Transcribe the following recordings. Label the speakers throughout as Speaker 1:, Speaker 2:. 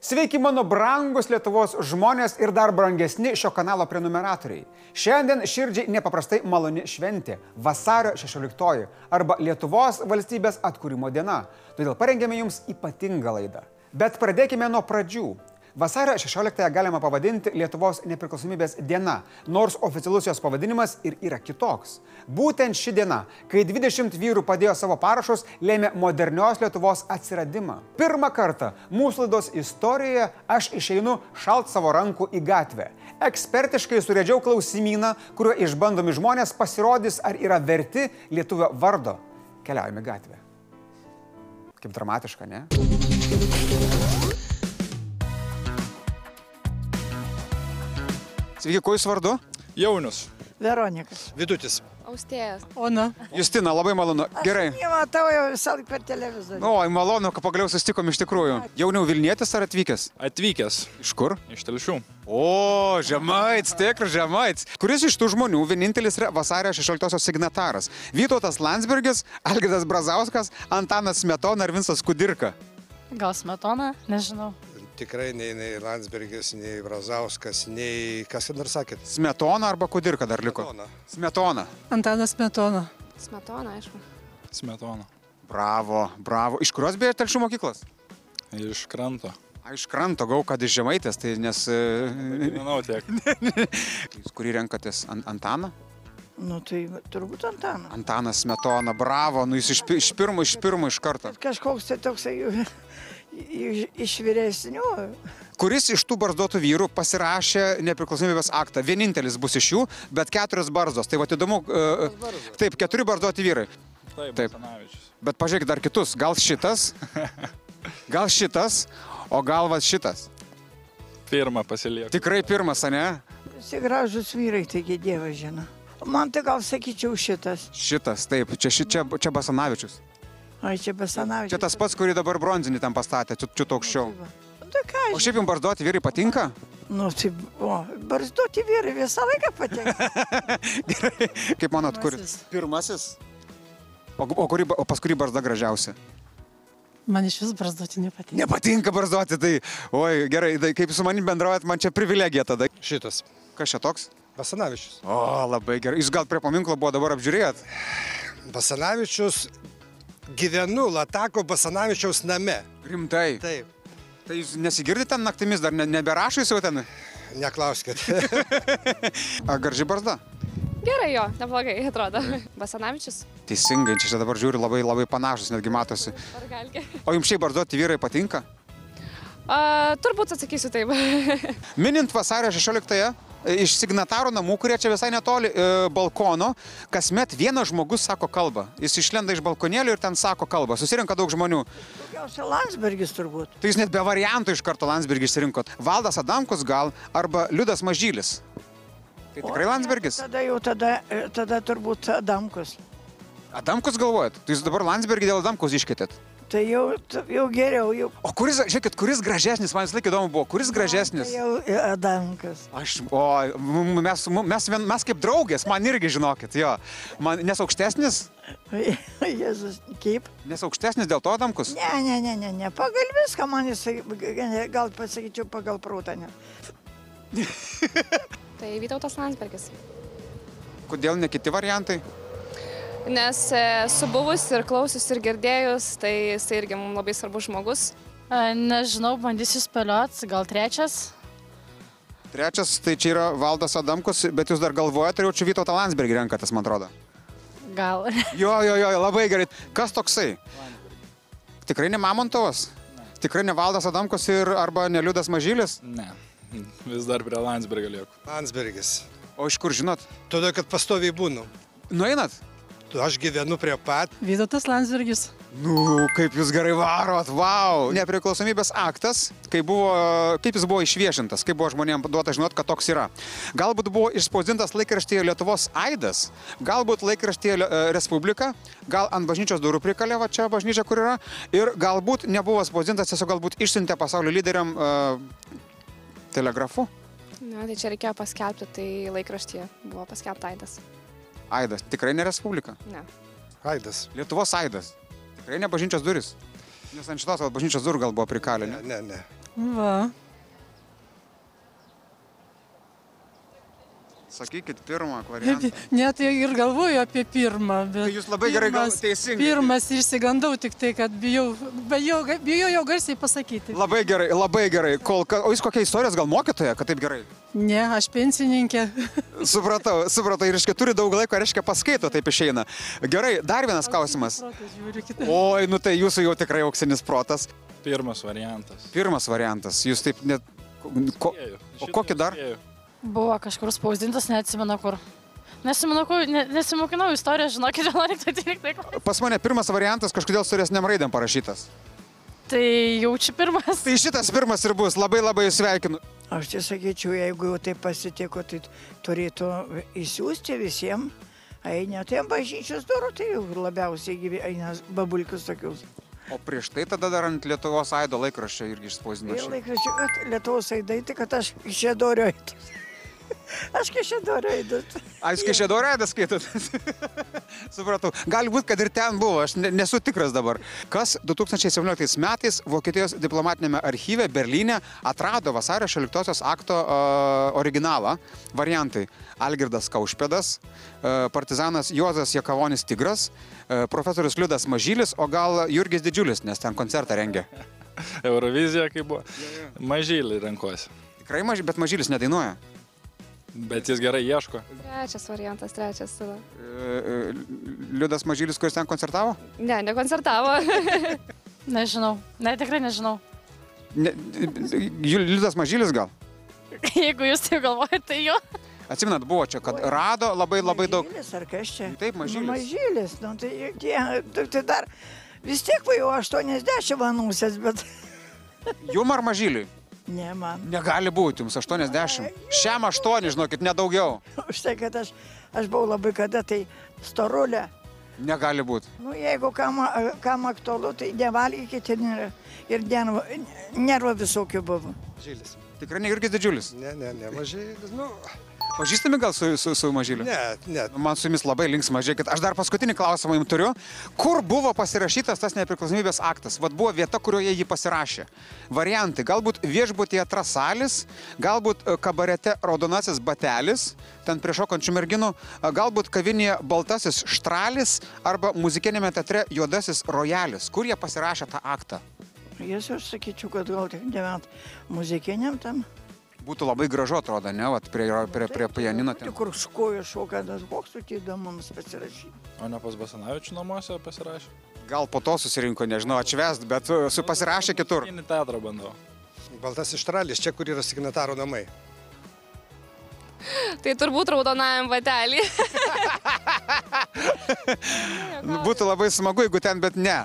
Speaker 1: Sveiki mano brangus Lietuvos žmonės ir dar brangesni šio kanalo prenumeratoriai. Šiandien širdžiai nepaprastai maloni šventė - vasario 16 arba Lietuvos valstybės atkūrimo diena. Todėl parengėme jums ypatingą laidą. Bet pradėkime nuo pradžių. Vasario 16-ąją galima pavadinti Lietuvos nepriklausomybės diena, nors oficialus jos pavadinimas ir yra kitoks. Būtent ši diena, kai 20 vyrų padėjo savo parašus, lėmė modernios Lietuvos atsiradimą. Pirmą kartą mūsų laidos istorijoje aš išeinu šalt savo rankų į gatvę. Ekspertiškai surėdžiau klausimyną, kuriuo išbandomi žmonės pasirodys, ar yra verti lietuvio vardo. Keliaujame į gatvę. Kaip dramatiška, ne? Sveiki, kuo jūs vardu?
Speaker 2: Jaunius.
Speaker 3: Veronika.
Speaker 2: Vidutis.
Speaker 4: Austėjas.
Speaker 3: Ona.
Speaker 1: Justina, labai malonu. Gerai. Nu.
Speaker 3: Aš nematau jau visą laiką per televizorių.
Speaker 1: O, malonu, kad pagaliau sustikom iš tikrųjų. Jauniau Vilnietis ar atvykęs?
Speaker 2: Atvykęs
Speaker 1: Iš kur?
Speaker 2: iš telšių.
Speaker 1: O, Žemaits, tikras Žemaits. Kuris iš tų žmonių vienintelis yra vasario 16-osios signataras? Vytautas Landsbergis, Algidas Brazauskas, Antanas Smetona ir Vinsas Kudirka.
Speaker 5: Gal smetona, nežinau.
Speaker 6: Tikrai nei, nei Landsbergis, nei Brazauskas, nei kas ten dar sakėt.
Speaker 1: Smetona arba Kudirka dar liko.
Speaker 6: Smetona.
Speaker 1: Smetona.
Speaker 7: Antanas Smetona,
Speaker 4: Smetona, aišku.
Speaker 2: Smetona.
Speaker 1: Bravo, bravo. Iš kurios beje telšių mokyklos?
Speaker 2: Iš kranto.
Speaker 1: A, Iš kranto gau, kad iš Žemaitės, tai nes... e,
Speaker 2: Manau tiek.
Speaker 1: Jūs kurį renkatės? An Antaną?
Speaker 3: Nu tai turbūt Antanas.
Speaker 1: Antanas Smetona, bravo, nu jis iš, pi- iš pirmo, iš pirmo iš karto.
Speaker 3: Kažkoks tai toksai jau iš, iš vyresnių.
Speaker 1: Kuris iš tų barzdotų vyrų pasirašė nepriklausomybės aktą? Vienintelis bus iš jų, bet keturios barzdos. Tai va įdomu, e, e, taip, keturi barzdoti vyrai.
Speaker 2: Taip.
Speaker 1: Taip.
Speaker 2: Basanavičius.
Speaker 1: Bet pažiūrėk dar kitus, gal šitas, gal šitas, o gal va šitas.
Speaker 2: Pirmą pasilieku.
Speaker 1: Tikrai pirmas, ne?
Speaker 3: Visi gražus vyrai, taigi Dievas žino. Man tai gal sakyčiau šitas.
Speaker 1: Šitas, taip, čia, ši, čia, čia Basanavičius.
Speaker 3: Ai, čia Besanavičius.
Speaker 1: Čia tas pats, kurį dabar bronzinį ten pastatė, čia, čia aukščiau.
Speaker 3: Nu tai ką,
Speaker 1: O
Speaker 3: aš...
Speaker 1: šiaip jums barzdoti vyrai patinka?
Speaker 3: Nu tai, o, barzduoti vyrai visą laiką patenka.
Speaker 1: Gerai, kaip manot, kuris? Pirmasis. O, o, kuri, o pas kurį barzda gražiausia?
Speaker 7: man iš vis brazduoti nepatinka.
Speaker 1: Nepatinka barzdoti, tai, oi, gerai, tai kaip su manim bendraujat, man čia privilegija tada.
Speaker 6: Šitas.
Speaker 1: Kas čia toks?
Speaker 6: Basanavičius.
Speaker 1: O, labai gerai. Jūs gal prie paminklo buvo dabar apžiūrėjot?
Speaker 6: Basanavičius gyvenu Latako Basanavičiaus name.
Speaker 1: Rimtai. Tai,
Speaker 6: Taip.
Speaker 1: tai jūs nesigirdite ten naktimis, dar ne, neberašo jūs jau ten?
Speaker 6: Neklauskit.
Speaker 1: A, garži barzda.
Speaker 4: Gerai jo, neblogai atrodo. Basanavičius.
Speaker 1: Teisingai, čia, čia dabar žiūriu labai labai panašus, netgi matosi.
Speaker 4: Ar galite?
Speaker 1: O jums šiaip barzdoti vyrai patinka?
Speaker 4: Turbūt atsakysiu taip.
Speaker 1: Minint vasario 16-ąją, e, iš signatarų namų, kurie čia visai netoli e, balkono, kasmet vienas žmogus sako kalbą. Jis išlenda iš balkonėlio ir ten sako kalbą. Susirinka daug žmonių.
Speaker 3: Daugiausia Landsbergis turbūt.
Speaker 1: Tai jūs net be variantų iš karto Landsbergį išsirinkot. Valdas Adamkus gal arba Liudas Mažylis. Tai tikrai
Speaker 3: O,
Speaker 1: Landsbergis?
Speaker 3: Tada jau tada, e, tada turbūt Adamkus.
Speaker 1: Adamkus galvojat? Tai jūs dabar Landsbergį dėl Adamkus iškėtėt.
Speaker 3: Tai jau, jau geriau, jau
Speaker 1: O kuris, žiūrėkit, kuris gražesnis, man visą laiką įdomu buvo, kuris gražesnis?
Speaker 3: Tai Jau Adamkas.
Speaker 1: Aš, o m- m- mes, m- mes, vien- mes kaip draugės, man irgi žinokit, jo. Man, nes aukštesnis,
Speaker 3: Jėzus, kaip?
Speaker 1: nes aukštesnis dėl to Adamkus.
Speaker 3: Ne, ne, ne, ne, ne. Pagal viską man jisai, gal pasakyčiau, pagal prūtą. Ne.
Speaker 4: Tai Vytautas Landsbergis.
Speaker 1: Kodėl ne kiti variantai?
Speaker 4: Nes e, su buvus ir klausius ir girdėjus, tai jis irgi mums labai svarbus žmogus.
Speaker 5: E, Nežinau, bandysiu spėliot, gal trečias.
Speaker 1: Trečias, tai čia yra Valdas Adamkus, bet jūs dar galvojate, ar jau čia Vytautą Landsbergį renkatės, man atrodo.
Speaker 5: Gal.
Speaker 1: Jo, jo, jo, labai gerai. Kas toksai? Tikrai ne Mamontovas? Tikrai ne Valdas Adamkus ir arba ne Liudas Mažylis?
Speaker 2: Ne. Vis dar prie Landsbergio lieku.
Speaker 6: Landsbergis.
Speaker 1: O iš kur žinot?
Speaker 6: Todėl, kad pastoviai būnu.
Speaker 1: Nueinat?
Speaker 6: Tu- Aš gyvenu prie pat.
Speaker 7: Vydotas Landsbergis.
Speaker 1: Nu, kaip jūs gerai varot, wow. Nepriklausomybės aktas, kai buvo, kaip jis buvo išviešintas, kaip buvo žmonėms duota žinot, kad toks yra. Galbūt buvo išspausdintas laikraštyje Lietuvos Aidas, galbūt laikraštyje Lie- e, Respublika, gal ant bažnyčios durų prikalėva čia bažnyčia, kur yra, ir galbūt nebuvo spausdintas, tiesiog galbūt išsiuntė pasaulio lyderiam e, telegrafu.
Speaker 4: Na, tai čia reikėjo paskelbti, tai laikraštyje buvo paskelbta Aidas.
Speaker 1: Aidas, tikrai ne Respublika.
Speaker 4: Ne.
Speaker 6: Aidas.
Speaker 1: Lietuvos Aidas, tikrai ne bažnyčios duris. Nes ant šitos vat bažnyčios durų gal buvo prikalę.
Speaker 6: Ne,
Speaker 1: ne?
Speaker 6: ne, ne.
Speaker 7: Va.
Speaker 1: Sakykit pirmą
Speaker 7: Apie,
Speaker 1: variantą.
Speaker 7: net tai ir galvoju apie pirmą. Bet
Speaker 1: Tai jūs labai gerai gal
Speaker 7: pirmas-
Speaker 1: teisingai.
Speaker 7: Pirmas išsigandau tik tai, kad bijau, bijau, bijau garsiai pasakyti.
Speaker 1: Labai gerai, labai gerai. Kol kas, o jūs kokia istorijos gal mokytoja, kad taip gerai?
Speaker 7: Ne, aš pensininkė.
Speaker 1: Supratau, supratau. Ir reiškia, turi daug laiko, reiškia, paskaito, taip išeina. Gerai, dar vienas klausimas.
Speaker 7: Protas žiūriu kitą.
Speaker 1: Oi, nu tai jūsų jau tikrai auksinis protas.
Speaker 2: Pirmas variantas.
Speaker 1: Pirmas variantas, jūs taip net... Ko,
Speaker 2: Spėju.
Speaker 1: o
Speaker 2: Šitą
Speaker 1: kokį dar?
Speaker 2: spėju.
Speaker 5: Buvo kažkur spausdintas, neatsimenu kur. Nesimenu, kur, ne, nesimokinau istorijos, žinokit, 11-13 klasė.
Speaker 1: Pas mane pirmas variantas kažkodėl suresniam raidėm parašytas.
Speaker 5: Tai jaučiu pirmas.
Speaker 1: Tai šitas pirmas ir bus. Labai labai jūs sveikinu.
Speaker 3: Aš tai sakyčiau, jeigu jau taip pasitiko, tai turėtų įsiųsti visiems. Eina, tai ant bažnyčios durų, tai jau labiausiai gyvi, eina babulkius tokius.
Speaker 1: O prieš tai tada dar ant Lietuvos Aido laikraščio irgi išspausdino.
Speaker 3: Ir
Speaker 1: šį.
Speaker 3: laikraščiai, kad Lietuvos aidai, tai kad aš čia doriu eidu. Aš čia doriu eidu.
Speaker 1: A, jūs kai šedorą Aidą skaitot? Supratau. Galbūt, kad ir ten buvo, aš ne, nesu tikras dabar. Kas 2017 metais Vokietijos diplomatinėme archyve Berlyne atrado vasario 16-osios akto uh, originalą? Variantai. Algirdas Kaušpėdas, uh, partizanas Juozas Jakavonis Tigras, uh, profesorius Liudas Mažylis, o gal Jurgis Didžiulis, nes ten koncertą rengė.
Speaker 2: Eurovizija kaip buvo. Mažylį renkuosi.
Speaker 1: Tikrai mažylis, bet mažylis nedainuoja.
Speaker 2: Bet jis gerai ieško.
Speaker 4: Trečias variantas, trečias. tada.
Speaker 1: E, e, Liudas Mažylis, kuris ten koncertavo?
Speaker 4: Ne, nekoncertavo.
Speaker 5: Nežinau, ne, tikrai nežinau.
Speaker 1: Ne, Ju- Liudas Mažylis gal?
Speaker 5: Jeigu jūs taip galvojate, tai jo.
Speaker 1: Atsimenat, buvo čia, kad rado labai Tai labai daug.
Speaker 3: Mažylis ar kas čia?
Speaker 1: Taip, mažylis.
Speaker 3: Nu, mažylis, nu, tai, tie, tai- tai dar vis tiek va jau 80 manusės, bet
Speaker 1: Jum ar Mažyliui?
Speaker 3: ne man.
Speaker 1: Negali būti, jums 80. Šiam 8, žinokit, nedaugiau.
Speaker 3: Už tai, kad aš, aš buvau labai kada tai storulė.
Speaker 1: Negali būti.
Speaker 3: Nu, jeigu kam, kam aktualu, tai nevalgykite ir, ir nervo, nervo visokių buvo.
Speaker 6: Žylis.
Speaker 1: Tikrai ne Jurgis Didžiulis.
Speaker 6: Ne, ne, ne, mažai. Nu,
Speaker 1: Pažįstami gal su, su, su Mažyliu?
Speaker 6: ne, ne.
Speaker 1: Man su jumis labai linksma, žiūrėkit, aš dar paskutinį klausimą jums turiu. Kur buvo pasirašytas tas nepriklausomybės aktas? Vat buvo vieta, kurioje jį pasirašė. Variantai, galbūt viešbutyje trasalis, galbūt e, kabarete raudonasis batelis, ten prie šokančių merginų, e, galbūt kavinėje baltasis štralis arba muzikinėme teatre juodasis rojalis. Kur jie pasirašė tą aktą?
Speaker 3: Jis aš sakyčiau, kad gal tik devint muzikiniam tam.
Speaker 1: Būtų labai gražu, atrodo, ne, Vat prie, prie, prie pianino.
Speaker 3: Tik
Speaker 1: Ten.
Speaker 3: kur škojo šokadas, koks tu tai įdomus pasirašyti.
Speaker 2: O ne pas Basanavičių namuose pasirašė.
Speaker 1: Gal po to susirinko, nežinau, atšvest, bet e, su pasirašė kitur.
Speaker 2: Į teatrą bandau.
Speaker 6: Baltasis štralis, čia kur yra signatarų namai.
Speaker 4: tai turbūt raudonajam vatelį.
Speaker 1: Nu, Būtų labai smagu, jeigu ten, bet ne.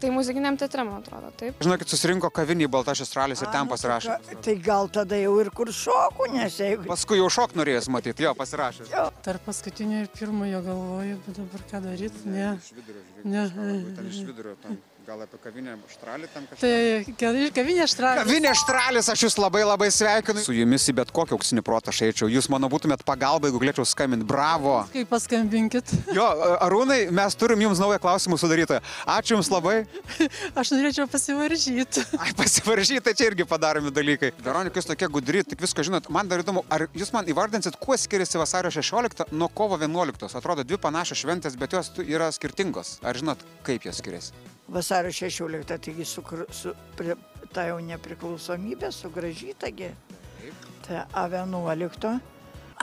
Speaker 4: Tai muzikiniam teatre, man atrodo, taip.
Speaker 1: Žinokit, susirinko kavinį Baltasis Ralis ir
Speaker 3: A,
Speaker 1: ten
Speaker 3: nu,
Speaker 1: pasirašė.
Speaker 3: tai ką- Tai gal tada jau ir kur šoku, nes jeigu...
Speaker 1: Paskui jau šok norėjęs matyti, jo pasirašė.
Speaker 7: Tarp paskutinio ir pirmojo galvoju, bet dabar ką daryti, ne.
Speaker 1: Iš vidurio, žiūrėk.
Speaker 7: Ne.
Speaker 1: kažką labai, Ten iš vidurio, ten gal apie kavinę Štralį ten kažką.
Speaker 7: Tai gerai, kavinė štralis.
Speaker 1: Kavinė Štralis, aš jūs labai labai sveikinu. Su jumis į bet kokį auksinį protą aš eičiau. Jūs, mano, būtumėt pagalba, jeigu galėčiau skambinti. Bravo.
Speaker 7: Kai paskambinkit.
Speaker 1: Jo, Arūnai, mes turim jums naują klausimų sudarytą. Ačiū jums labai.
Speaker 7: Aš norėčiau pasivaržyti.
Speaker 1: Ai, pasivaržyti, tai čia irgi padaromi dalykai. Veronika, jūs tokia gudri, tik visko žinot. Man dar įdomu, ar jūs man įvardinsit, kuo skiriasi vasario 16 nuo kovo 11? Atrodo, dvi panašios šventės, bet jos tu- yra skirtingos. Ar žinot, kaip jos skiriasi?
Speaker 3: Vasario 16, taigi su, kr- su pri, ta jau nepriklausomybė sugražytagi. Ta A11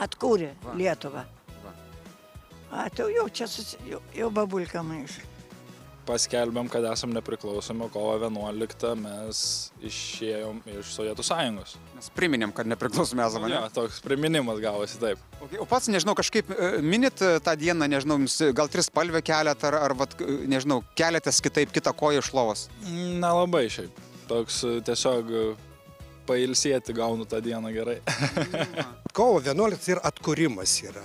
Speaker 3: atkūrė Lietuvą.
Speaker 1: Va.
Speaker 3: A, tai jau- jau čia susi, jau, jau babulka maiš.
Speaker 2: Paskelbėm, kad esam nepriklausomi, kovo 11 mes išėjom iš Sovietų sąjungos.
Speaker 1: Mes priminėm, kad nepriklausome esame.
Speaker 2: Jo,
Speaker 1: Ne?
Speaker 2: toks priminimas gavosi taip.
Speaker 1: Okay, o pats, nežinau, kažkaip e, minit e, tą dieną, nežinau, jums e, gal tris palvę keliat, ar, ar vat, e, nežinau, keliatės kitaip kitą koją iš lovos.
Speaker 2: Nelabai šiaip. Toks e, tiesiog e, pailsėti gaunu tą dieną gerai.
Speaker 6: Kovo 11 ir atkūrimas yra.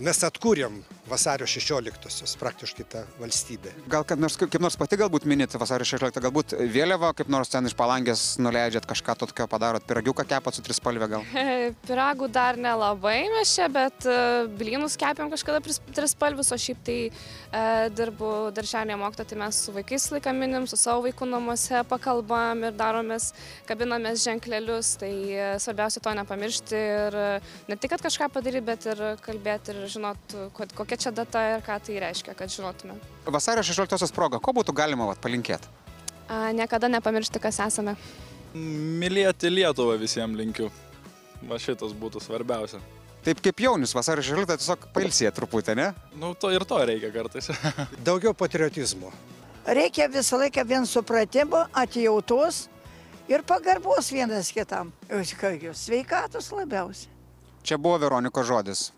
Speaker 6: Mes atkūrėm vasario 16-osios praktiškai tą valstybę.
Speaker 1: Gal kaip nors, kaip nors pati galbūt minit vasario 16, galbūt vėliavą, kaip nors ten iš palangės nuleidžiat kažką tokio padarot, piragiuką kepat su trispalvė gal.
Speaker 4: Piragų dar nelabai mes čia, bet e, blynus kepiam kažkada pris- trispalvius, o šiaip tai e, dirbu darželėje mokto, tai mes su vaikais laiką minim, su savo vaikų namuose pakalbam ir daromės, kabinamės ženklelius, tai e, svarbiausia to nepamiršti ir e, ne tik, kad kažką padaryti, bet ir kalbėti ir žinot, kod- kokia čia data ir ką tai reiškia, kad žinotume.
Speaker 1: Vasario 16 proga, ko būtų galima vat, palinkėti?
Speaker 4: A, Niekada nepamiršti, kas esame.
Speaker 2: Mylėti Lietuvą visiems linkiu. Va šitas būtų svarbiausia.
Speaker 1: Taip kaip jaunis, vasario 16 tiesiog pailsėti truputį, ne?
Speaker 2: Nu, to ir to reikia kartais.
Speaker 6: Daugiau patriotizmo.
Speaker 3: Reikia visą laiką vien supratimo, atjautos ir pagarbos vienas kitam. Jūs ką, jūs sveikatos labiausiai.
Speaker 1: Čia buvo Veronikos žodis.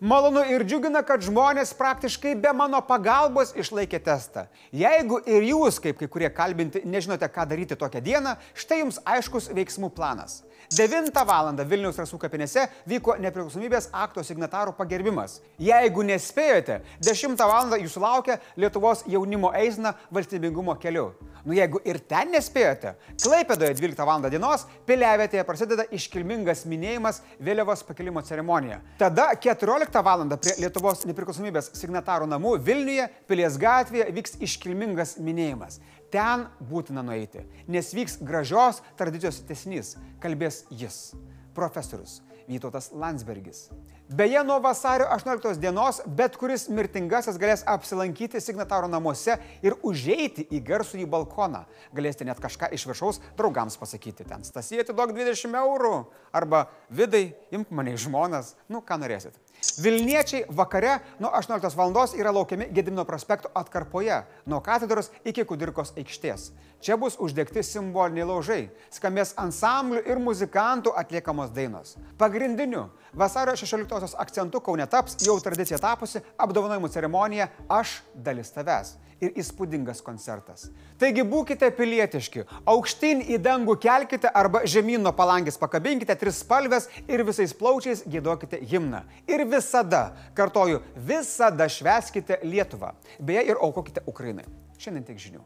Speaker 1: Malonu ir džiugina, kad žmonės praktiškai be mano pagalbos išlaikė testą. Jeigu ir jūs, kaip kai kurie kalbinti, nežinote, ką daryti tokią dieną, štai jums aiškus veiksmų planas. 9 val. Vilniaus rasų kapinėse vyko nepriklausomybės akto signatarų pagerbimas. Jeigu nespėjote, 10 val. jūsų laukia Lietuvos jaunimo eisna valstybingumo keliu. Nu jeigu ir ten nespėjote, Klaipėdoje 12 val. dienos piliavietėje prasideda iškilmingas minėjimas vėliavos pakelimo ceremonija. Tada 14 val. prie Lietuvos nepriklausomybės signatarų namų Vilniuje, Pilies gatvėje vyks iškilmingas minėjimas. Ten būtina nueiti, nes vyks gražios tradicijos tesnys, kalbės jis, profesorius Vytautas Landsbergis. Beje, nuo vasario 18 dienos bet kuris mirtingasis galės apsilankyti signataro namuose ir užeiti į garsų į balkoną. Galėsite net kažką iš viršaus draugams pasakyti. Ten stasijai atiduok 20 eurų arba vidai, imk mane į žmonas, nu ką norėsit. Vilniečiai vakare nuo 18 val. yra laukiami Gedimino prospekto atkarpoje nuo katedros iki Kudirkos aikštės. Čia bus uždegti simboliniai laužai, skambės ansamblių ir muzikantų atliekamos dainos. Pagrindiniu vasario 16-osios akcentu Kaune taps jau tradicija tapusi apdovanojimų ceremonija Aš dalis tavęs ir įspūdingas koncertas. Taigi būkite pilietiški, aukštyn į dangų kelkite arba žemynų palangės pakabinkite tris spalves ir visais plaučiais gėduokite himną. Ir visada, kartoju, visada šveskite Lietuvą. Beje, ir aukokite Ukrainai. Šiandien tiek žinių.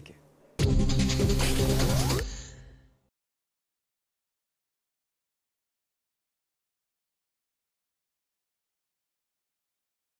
Speaker 1: Iki.